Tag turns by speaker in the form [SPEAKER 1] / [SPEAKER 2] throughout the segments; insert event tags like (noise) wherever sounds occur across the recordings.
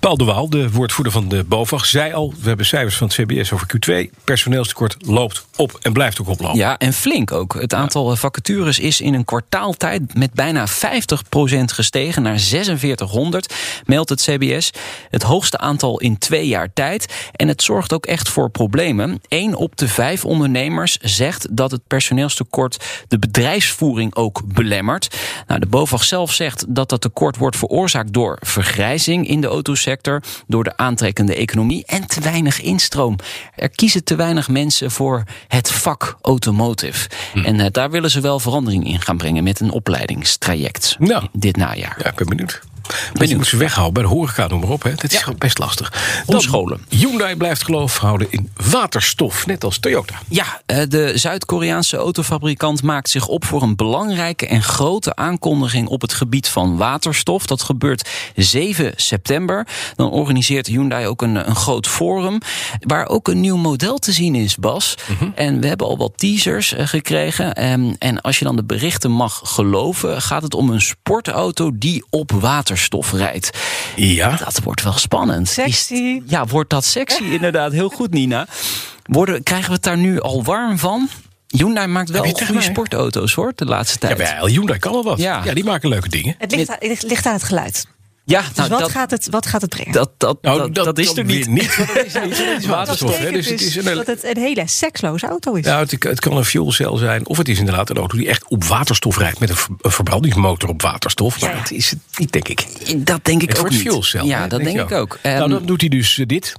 [SPEAKER 1] Paul de Waal, de woordvoerder van de BOVAG, zei al... we hebben cijfers van het CBS over Q2. Personeelstekort loopt op en blijft ook oplopen.
[SPEAKER 2] Ja, en flink ook. Het aantal eh, vacatures is in een kwartaaltijd met bijna 50% gestegen naar 4600, meldt het CBS. Het hoogste aantal in twee jaar tijd. En het zorgt ook echt voor problemen. Eén op de vijf ondernemers zegt dat het personeelstekort de bedrijfsvoering ook belemmert. Nou, de BOVAG zelf zegt dat dat tekort wordt veroorzaakt door vergrijzing in de autosector, door de aantrekkende economie en te weinig instroom. Er kiezen te weinig mensen voor het vak automotive. En eh, daar willen ze wel verandering in gaan brengen met een opleidingstraject
[SPEAKER 1] Nou.
[SPEAKER 2] dit najaar.
[SPEAKER 1] Ja, ik ben benieuwd. Ben je moet ze weghouden bij de horeca, noem maar op. Hè. Dat is gewoon best lastig. Dan,
[SPEAKER 2] scholen.
[SPEAKER 1] Hyundai blijft geloof houden in waterstof, net als Toyota.
[SPEAKER 2] Ja, eh, de Zuid-Koreaanse autofabrikant maakt zich op voor een belangrijke en grote aankondiging op het gebied van waterstof. Dat gebeurt 7 september. Dan organiseert Hyundai ook een, een groot forum waar ook een nieuw model te zien is, Bas. En we hebben al wat teasers eh, gekregen. Ehm, en als je dan de berichten mag geloven, gaat het om een sportauto die op waterstof rijdt.
[SPEAKER 1] Ja.
[SPEAKER 2] Dat wordt wel spannend.
[SPEAKER 3] Sexy.
[SPEAKER 2] Is- ja, wordt dat
[SPEAKER 3] (laughs)
[SPEAKER 2] sexy inderdaad. Heel goed, Nina. Worden, krijgen we het daar nu al warm van? Hyundai maakt wel
[SPEAKER 1] Heb je het
[SPEAKER 2] goede
[SPEAKER 1] echt waar?
[SPEAKER 2] sportauto's hoor, de laatste
[SPEAKER 1] Ja,
[SPEAKER 2] tijd.
[SPEAKER 1] bij Hyundai kan al wat.
[SPEAKER 2] Ja.
[SPEAKER 1] ja, die maken leuke dingen.
[SPEAKER 3] Het ligt, aan, het ligt- ligt aan het geluid.
[SPEAKER 2] Ja,
[SPEAKER 3] Dus
[SPEAKER 2] nou,
[SPEAKER 3] wat,
[SPEAKER 2] dat,
[SPEAKER 3] gaat het, wat gaat het brengen?
[SPEAKER 2] dat, dat,
[SPEAKER 1] Nou,
[SPEAKER 2] dat, dat is er
[SPEAKER 1] weer
[SPEAKER 2] niet.
[SPEAKER 1] want Dat
[SPEAKER 2] (laughs)
[SPEAKER 1] is, niet, dat is waterstof. hè. Dus het
[SPEAKER 3] betekent
[SPEAKER 1] is
[SPEAKER 3] dus
[SPEAKER 1] een,
[SPEAKER 3] dat het een hele seksloze auto is.
[SPEAKER 1] ja, het, het kan een fuelcel zijn. Of het is inderdaad een auto die echt op waterstof rijdt. Met een, ver- een verbrandingsmotor op waterstof. Maar
[SPEAKER 3] Ja.
[SPEAKER 1] dat is het niet, denk ik.
[SPEAKER 2] Dat denk ik
[SPEAKER 1] Het
[SPEAKER 2] ook
[SPEAKER 1] wordt
[SPEAKER 2] niet.
[SPEAKER 1] fuelcel.
[SPEAKER 2] ja,
[SPEAKER 1] hè,
[SPEAKER 2] dat denk, ik ook.
[SPEAKER 1] nou,
[SPEAKER 2] Ehm,
[SPEAKER 1] dan doet hij dus eh, dit.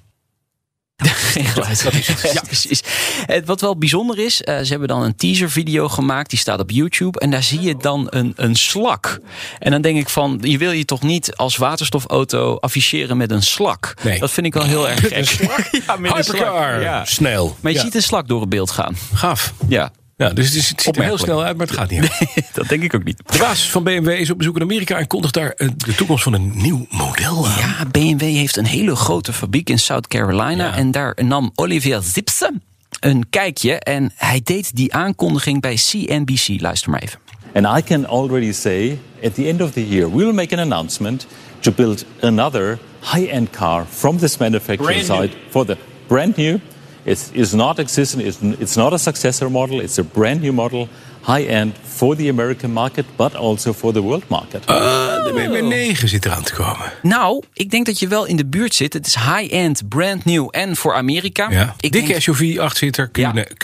[SPEAKER 2] Geen geluid.
[SPEAKER 1] Dat is
[SPEAKER 2] (laughs)
[SPEAKER 1] het. Ja.
[SPEAKER 2] precies. Het, wat wel bijzonder is, eh, ze hebben dan een teaservideo gemaakt. Die staat op YouTube. En daar zie je dan een, een slak. En dan denk ik van, je wil je toch niet als waterstofauto afficheren met een slak?
[SPEAKER 1] Nee.
[SPEAKER 2] Dat vind ik wel heel erg gek. (laughs) Ja, met een slak.
[SPEAKER 1] Hypercar.
[SPEAKER 2] Ja.
[SPEAKER 1] Snel.
[SPEAKER 2] Maar je
[SPEAKER 1] Ja.
[SPEAKER 2] ziet een slak door het beeld gaan.
[SPEAKER 1] Gaaf.
[SPEAKER 2] Ja, (laughs)
[SPEAKER 1] Ja, dus het, is, het ziet er heel
[SPEAKER 2] Opmerkelijk.
[SPEAKER 1] snel uit, maar het gaat niet. uit.
[SPEAKER 2] dat denk ik ook niet.
[SPEAKER 1] De baas van BMW is op bezoek in Amerika en kondigt daar eh, de toekomst van een nieuw model aan.
[SPEAKER 2] Ja, BMW heeft een hele grote fabriek in South Carolina.
[SPEAKER 1] Ja.
[SPEAKER 2] En daar nam Olivier Zipse een kijkje. En hij deed die aankondiging bij CNBC. Luister maar even.
[SPEAKER 4] And I can already say at the end of the year, we will make an announcement to build another high end car from this manufacturing site for the brand new. It's, it's not existing, it's, it's not a successor model, it's a brand new model, high end for the American market, but also for the world market.
[SPEAKER 1] Ah, de BMW 9 zit eraan te komen.
[SPEAKER 2] Nou, ik denk dat je wel in de buurt zit. Het is high-end, brand new en voor Amerika.
[SPEAKER 1] Ja.
[SPEAKER 2] Ik
[SPEAKER 1] Dikke
[SPEAKER 2] denk
[SPEAKER 1] SUV, 8-zitter, Q,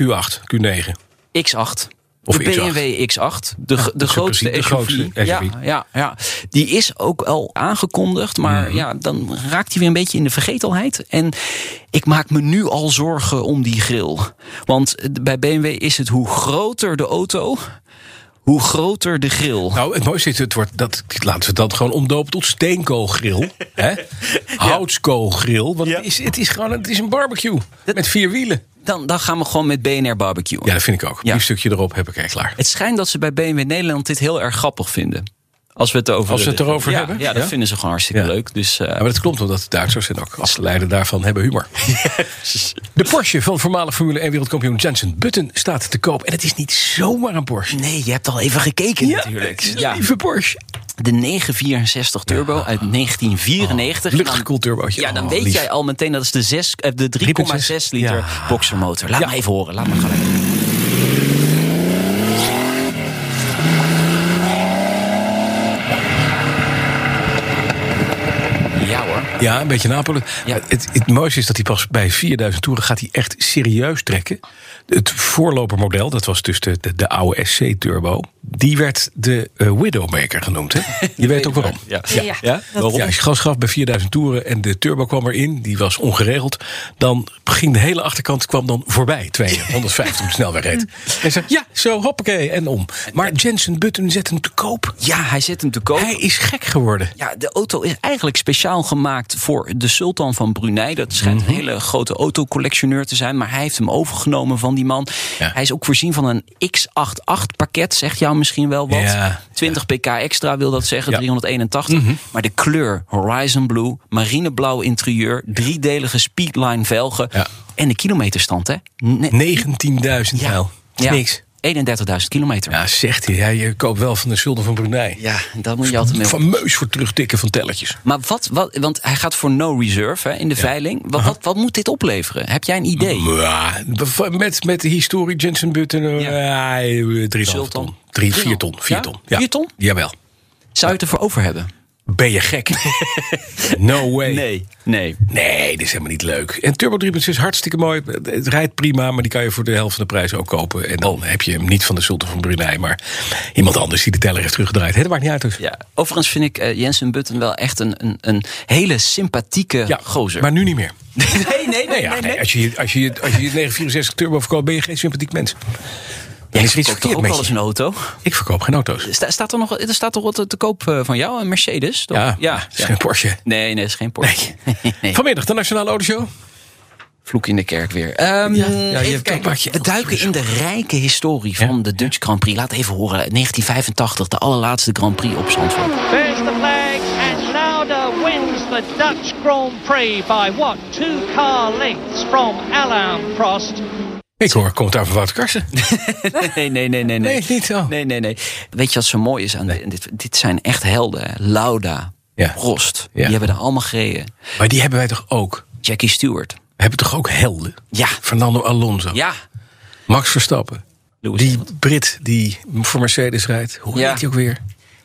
[SPEAKER 2] Ja.
[SPEAKER 1] 8 Q9.
[SPEAKER 2] X8.
[SPEAKER 1] Of
[SPEAKER 2] de
[SPEAKER 1] X8.
[SPEAKER 2] BMW X8, de, g- de
[SPEAKER 1] is ook
[SPEAKER 2] grootste
[SPEAKER 1] precies de
[SPEAKER 2] SUV.
[SPEAKER 1] grootste
[SPEAKER 2] Ja,
[SPEAKER 1] SUV.
[SPEAKER 2] ja, ja, die is ook al aangekondigd, maar
[SPEAKER 1] Mhm.
[SPEAKER 2] ja, dan raakt hij weer een beetje in de vergetelheid. En ik maak me nu al zorgen om die grill. Want eh, bij BMW is het hoe groter de auto, hoe groter de grill.
[SPEAKER 1] Nou, het mooiste is, het wordt, dat, laten we dat gewoon omdopen tot
[SPEAKER 2] (laughs)
[SPEAKER 1] steenkoolgril. hè? Houtskoolgril. Want het, is, het is gewoon het is een barbecue. met vier wielen.
[SPEAKER 2] Dan, dan gaan we gewoon met BNR barbecue.
[SPEAKER 1] Ja, dat vind ik ook.
[SPEAKER 2] Ja.
[SPEAKER 1] Een stukje erop heb ik echt klaar.
[SPEAKER 2] Het schijnt dat ze bij BMW Nederland dit heel erg grappig vinden. Als we het erover,
[SPEAKER 1] Als we het erover
[SPEAKER 2] ja,
[SPEAKER 1] hebben?
[SPEAKER 2] Ja, dat
[SPEAKER 1] Ja?
[SPEAKER 2] vinden ze gewoon hartstikke
[SPEAKER 1] Ja.
[SPEAKER 2] leuk. Dus eh,
[SPEAKER 1] Ja, maar dat klopt, omdat de Duitsers en ook afgeleiden daarvan hebben
[SPEAKER 2] (laughs)
[SPEAKER 1] humor. De Porsche van voormalig Formule 1 wereldkampioen Jensen Button staat te koop. En het is niet zomaar een Porsche.
[SPEAKER 2] nee, je hebt al even gekeken natuurlijk.
[SPEAKER 1] Ja. Lieve Porsche.
[SPEAKER 2] De 964 Turbo uit
[SPEAKER 1] Oh,
[SPEAKER 2] 1994.
[SPEAKER 1] Luchtgekoeld
[SPEAKER 2] Dan-
[SPEAKER 1] turbootje.
[SPEAKER 2] Ja, dan
[SPEAKER 1] Oh,
[SPEAKER 2] weet
[SPEAKER 1] lief.
[SPEAKER 2] jij al meteen dat is de, zes- eh, de 3,6 liter
[SPEAKER 1] Ja.
[SPEAKER 2] boxermotor. Laat
[SPEAKER 1] Ja.
[SPEAKER 2] me even horen. Laat me gelijk. Ja hoor.
[SPEAKER 1] Ja, een beetje Napoli.
[SPEAKER 2] Ja.
[SPEAKER 1] Maar Het, het mooiste is dat hij pas bij 4000 toeren gaat hij echt serieus trekken. Het voorlopermodel, dat was dus de, de, de oude SC Turbo, die werd de eh, Widowmaker genoemd. Hè? Je weet ook waarom.
[SPEAKER 2] Ja.
[SPEAKER 3] Ja,
[SPEAKER 1] Ja,
[SPEAKER 3] dat-
[SPEAKER 1] waarom? Ja, als je gas gaf bij 4000 toeren en de turbo kwam erin, die was ongeregeld, dan ging de hele achterkant kwam dan voorbij, 250 op de snelweg reed. En zei, ja, zo, hoppakee, en om. Maar Jensen Button zet hem te koop.
[SPEAKER 2] Ja, hij zet hem te koop.
[SPEAKER 1] Hij is gek geworden.
[SPEAKER 2] Ja, de auto is eigenlijk speciaal gemaakt gemaakt voor de sultan van Brunei. Dat schijnt
[SPEAKER 1] Mhm.
[SPEAKER 2] een hele grote autocollectioneur te zijn. Maar hij heeft hem overgenomen van die man.
[SPEAKER 1] Ja.
[SPEAKER 2] Hij is ook voorzien van een X88 pakket. Zegt jou misschien wel wat.
[SPEAKER 1] Ja,
[SPEAKER 2] 20 pk extra wil dat zeggen.
[SPEAKER 1] Ja. Mhm.
[SPEAKER 2] 381. Maar de kleur Horizon Blue. Marineblauw interieur. Driederige speedline velgen.
[SPEAKER 1] Ja.
[SPEAKER 2] En de kilometerstand hè. Ne-
[SPEAKER 1] 19.000 mijl. Dat is
[SPEAKER 2] ja,
[SPEAKER 1] niks.
[SPEAKER 2] 31.000 kilometer.
[SPEAKER 1] Ja, zegt hij. Ja, je koopt wel van de Sultan van Brunei.
[SPEAKER 2] Ja, dat moet je altijd mee.
[SPEAKER 1] Fameus voor terugtikken van tellertjes.
[SPEAKER 2] Maar wat, wat, want hij gaat voor no reserve hè, in de veiling. Wat, wat, wat moet dit opleveren? Heb jij een idee?
[SPEAKER 1] Ja, met, met de historie Jensen Button.
[SPEAKER 2] Ja.
[SPEAKER 1] eh, eh, drie
[SPEAKER 2] Sultan.
[SPEAKER 1] ton. Drie, vier ton. Vier
[SPEAKER 2] Ja?
[SPEAKER 1] ton. Ja.
[SPEAKER 2] Vier ton?
[SPEAKER 1] Jawel.
[SPEAKER 2] Zou je het ervoor over hebben?
[SPEAKER 1] Ben je
[SPEAKER 2] (laughs)
[SPEAKER 1] gek? no way.
[SPEAKER 2] Nee.
[SPEAKER 1] Nee, dit is helemaal niet leuk. En Turbo 3.6 is hartstikke mooi. Het rijdt prima, maar die kan je voor de helft van de prijs ook kopen. En dan heb je hem niet van de Sultan van Brunei, maar iemand anders die de teller heeft teruggedraaid. Hè, dat maakt niet uit. dus.
[SPEAKER 2] Ja. Overigens vind ik eh, Jensen Button wel echt een, een, een hele sympathieke
[SPEAKER 1] Ja,
[SPEAKER 2] gozer.
[SPEAKER 1] Maar nu niet meer. (laughs)
[SPEAKER 2] nee, nee,
[SPEAKER 1] Nee, ja, nee, Als, je, als, je, als je 964 Turbo verkoopt, ben je geen sympathiek mens. Dan
[SPEAKER 2] ik
[SPEAKER 1] is er iets
[SPEAKER 2] verkoop toch
[SPEAKER 1] verkeerd
[SPEAKER 2] ook
[SPEAKER 1] met
[SPEAKER 2] wel eens
[SPEAKER 1] je.
[SPEAKER 2] een auto.
[SPEAKER 1] Ik verkoop geen auto's.
[SPEAKER 2] Sta- staat er nog er staat toch wat te- te koop eh, van jou? Een Mercedes? toch?
[SPEAKER 1] Ja, het is geen Porsche.
[SPEAKER 2] Nee, nee, is geen Porsche. (laughs) Nee.
[SPEAKER 1] Vanmiddag de Nationale Autoshow.
[SPEAKER 2] Vloek in de kerk weer. Ehm
[SPEAKER 1] hebt
[SPEAKER 2] even
[SPEAKER 1] dat
[SPEAKER 2] kijken.
[SPEAKER 1] maakt je
[SPEAKER 2] We duiken in de rijke historie van de Dutch Grand Prix. Laat even horen. 1985, de allerlaatste Grand Prix op Zandvoort.
[SPEAKER 5] There's the flag, and Lauda wins the Dutch Grand Prix by what? Two car lengths from Alain Prost.
[SPEAKER 1] Ik hoor commentaar van Wouter Karsen.
[SPEAKER 2] (laughs) Nee, nee, nee, nee. Oh.
[SPEAKER 1] Nee, niet zo.
[SPEAKER 2] Nee, nee, nee. Weet je wat zo mooi is aan dit? Dit zijn echt helden. hè? Lauda,
[SPEAKER 1] Ja.
[SPEAKER 2] Prost.
[SPEAKER 1] Ja.
[SPEAKER 2] Die hebben er allemaal gereden.
[SPEAKER 1] Maar die hebben wij toch ook?
[SPEAKER 2] Jackie Stewart.
[SPEAKER 1] We hebben toch ook helden?
[SPEAKER 2] Ja.
[SPEAKER 1] Fernando Alonso.
[SPEAKER 2] Ja.
[SPEAKER 1] Max Verstappen.
[SPEAKER 2] Lewis
[SPEAKER 1] die
[SPEAKER 2] Hamilton.
[SPEAKER 1] Brit die voor Mercedes rijdt. Hoe
[SPEAKER 2] Ja.
[SPEAKER 1] heet hij ook weer?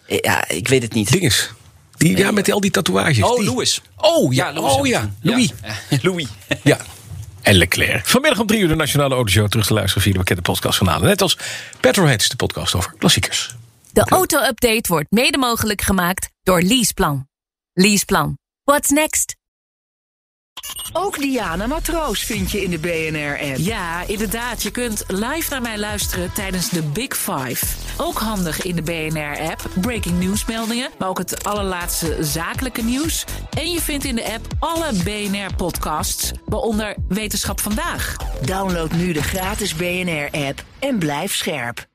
[SPEAKER 2] Ja, ik weet het niet.
[SPEAKER 1] Dinges. Die, ja, met al die tatoeages.
[SPEAKER 2] Oh,
[SPEAKER 1] Die.
[SPEAKER 2] Lewis.
[SPEAKER 1] Oh ja, oh, ja.
[SPEAKER 2] Hamilton.
[SPEAKER 1] Louis.
[SPEAKER 2] Ja. (laughs) Louis.
[SPEAKER 1] Ja. En Leclerc. Vanmiddag om drie uur de Nationale Autoshow terug te luisteren via de bekende podcastkanalen. Net als Petrolheads, de podcast over klassiekers.
[SPEAKER 6] De auto-update wordt mede mogelijk gemaakt door Leaseplan. Leaseplan. What's next?
[SPEAKER 7] Ook Diana Matroos vind je in de BNR-app.
[SPEAKER 8] Ja, inderdaad. Je kunt live naar mij luisteren tijdens de Big Five. Ook handig in de BNR-app. Breaking nieuwsmeldingen, maar ook het allerlaatste zakelijke nieuws. En je vindt in de app alle BNR-podcasts, waaronder Wetenschap Vandaag.
[SPEAKER 7] Download nu de gratis BNR-app en blijf scherp.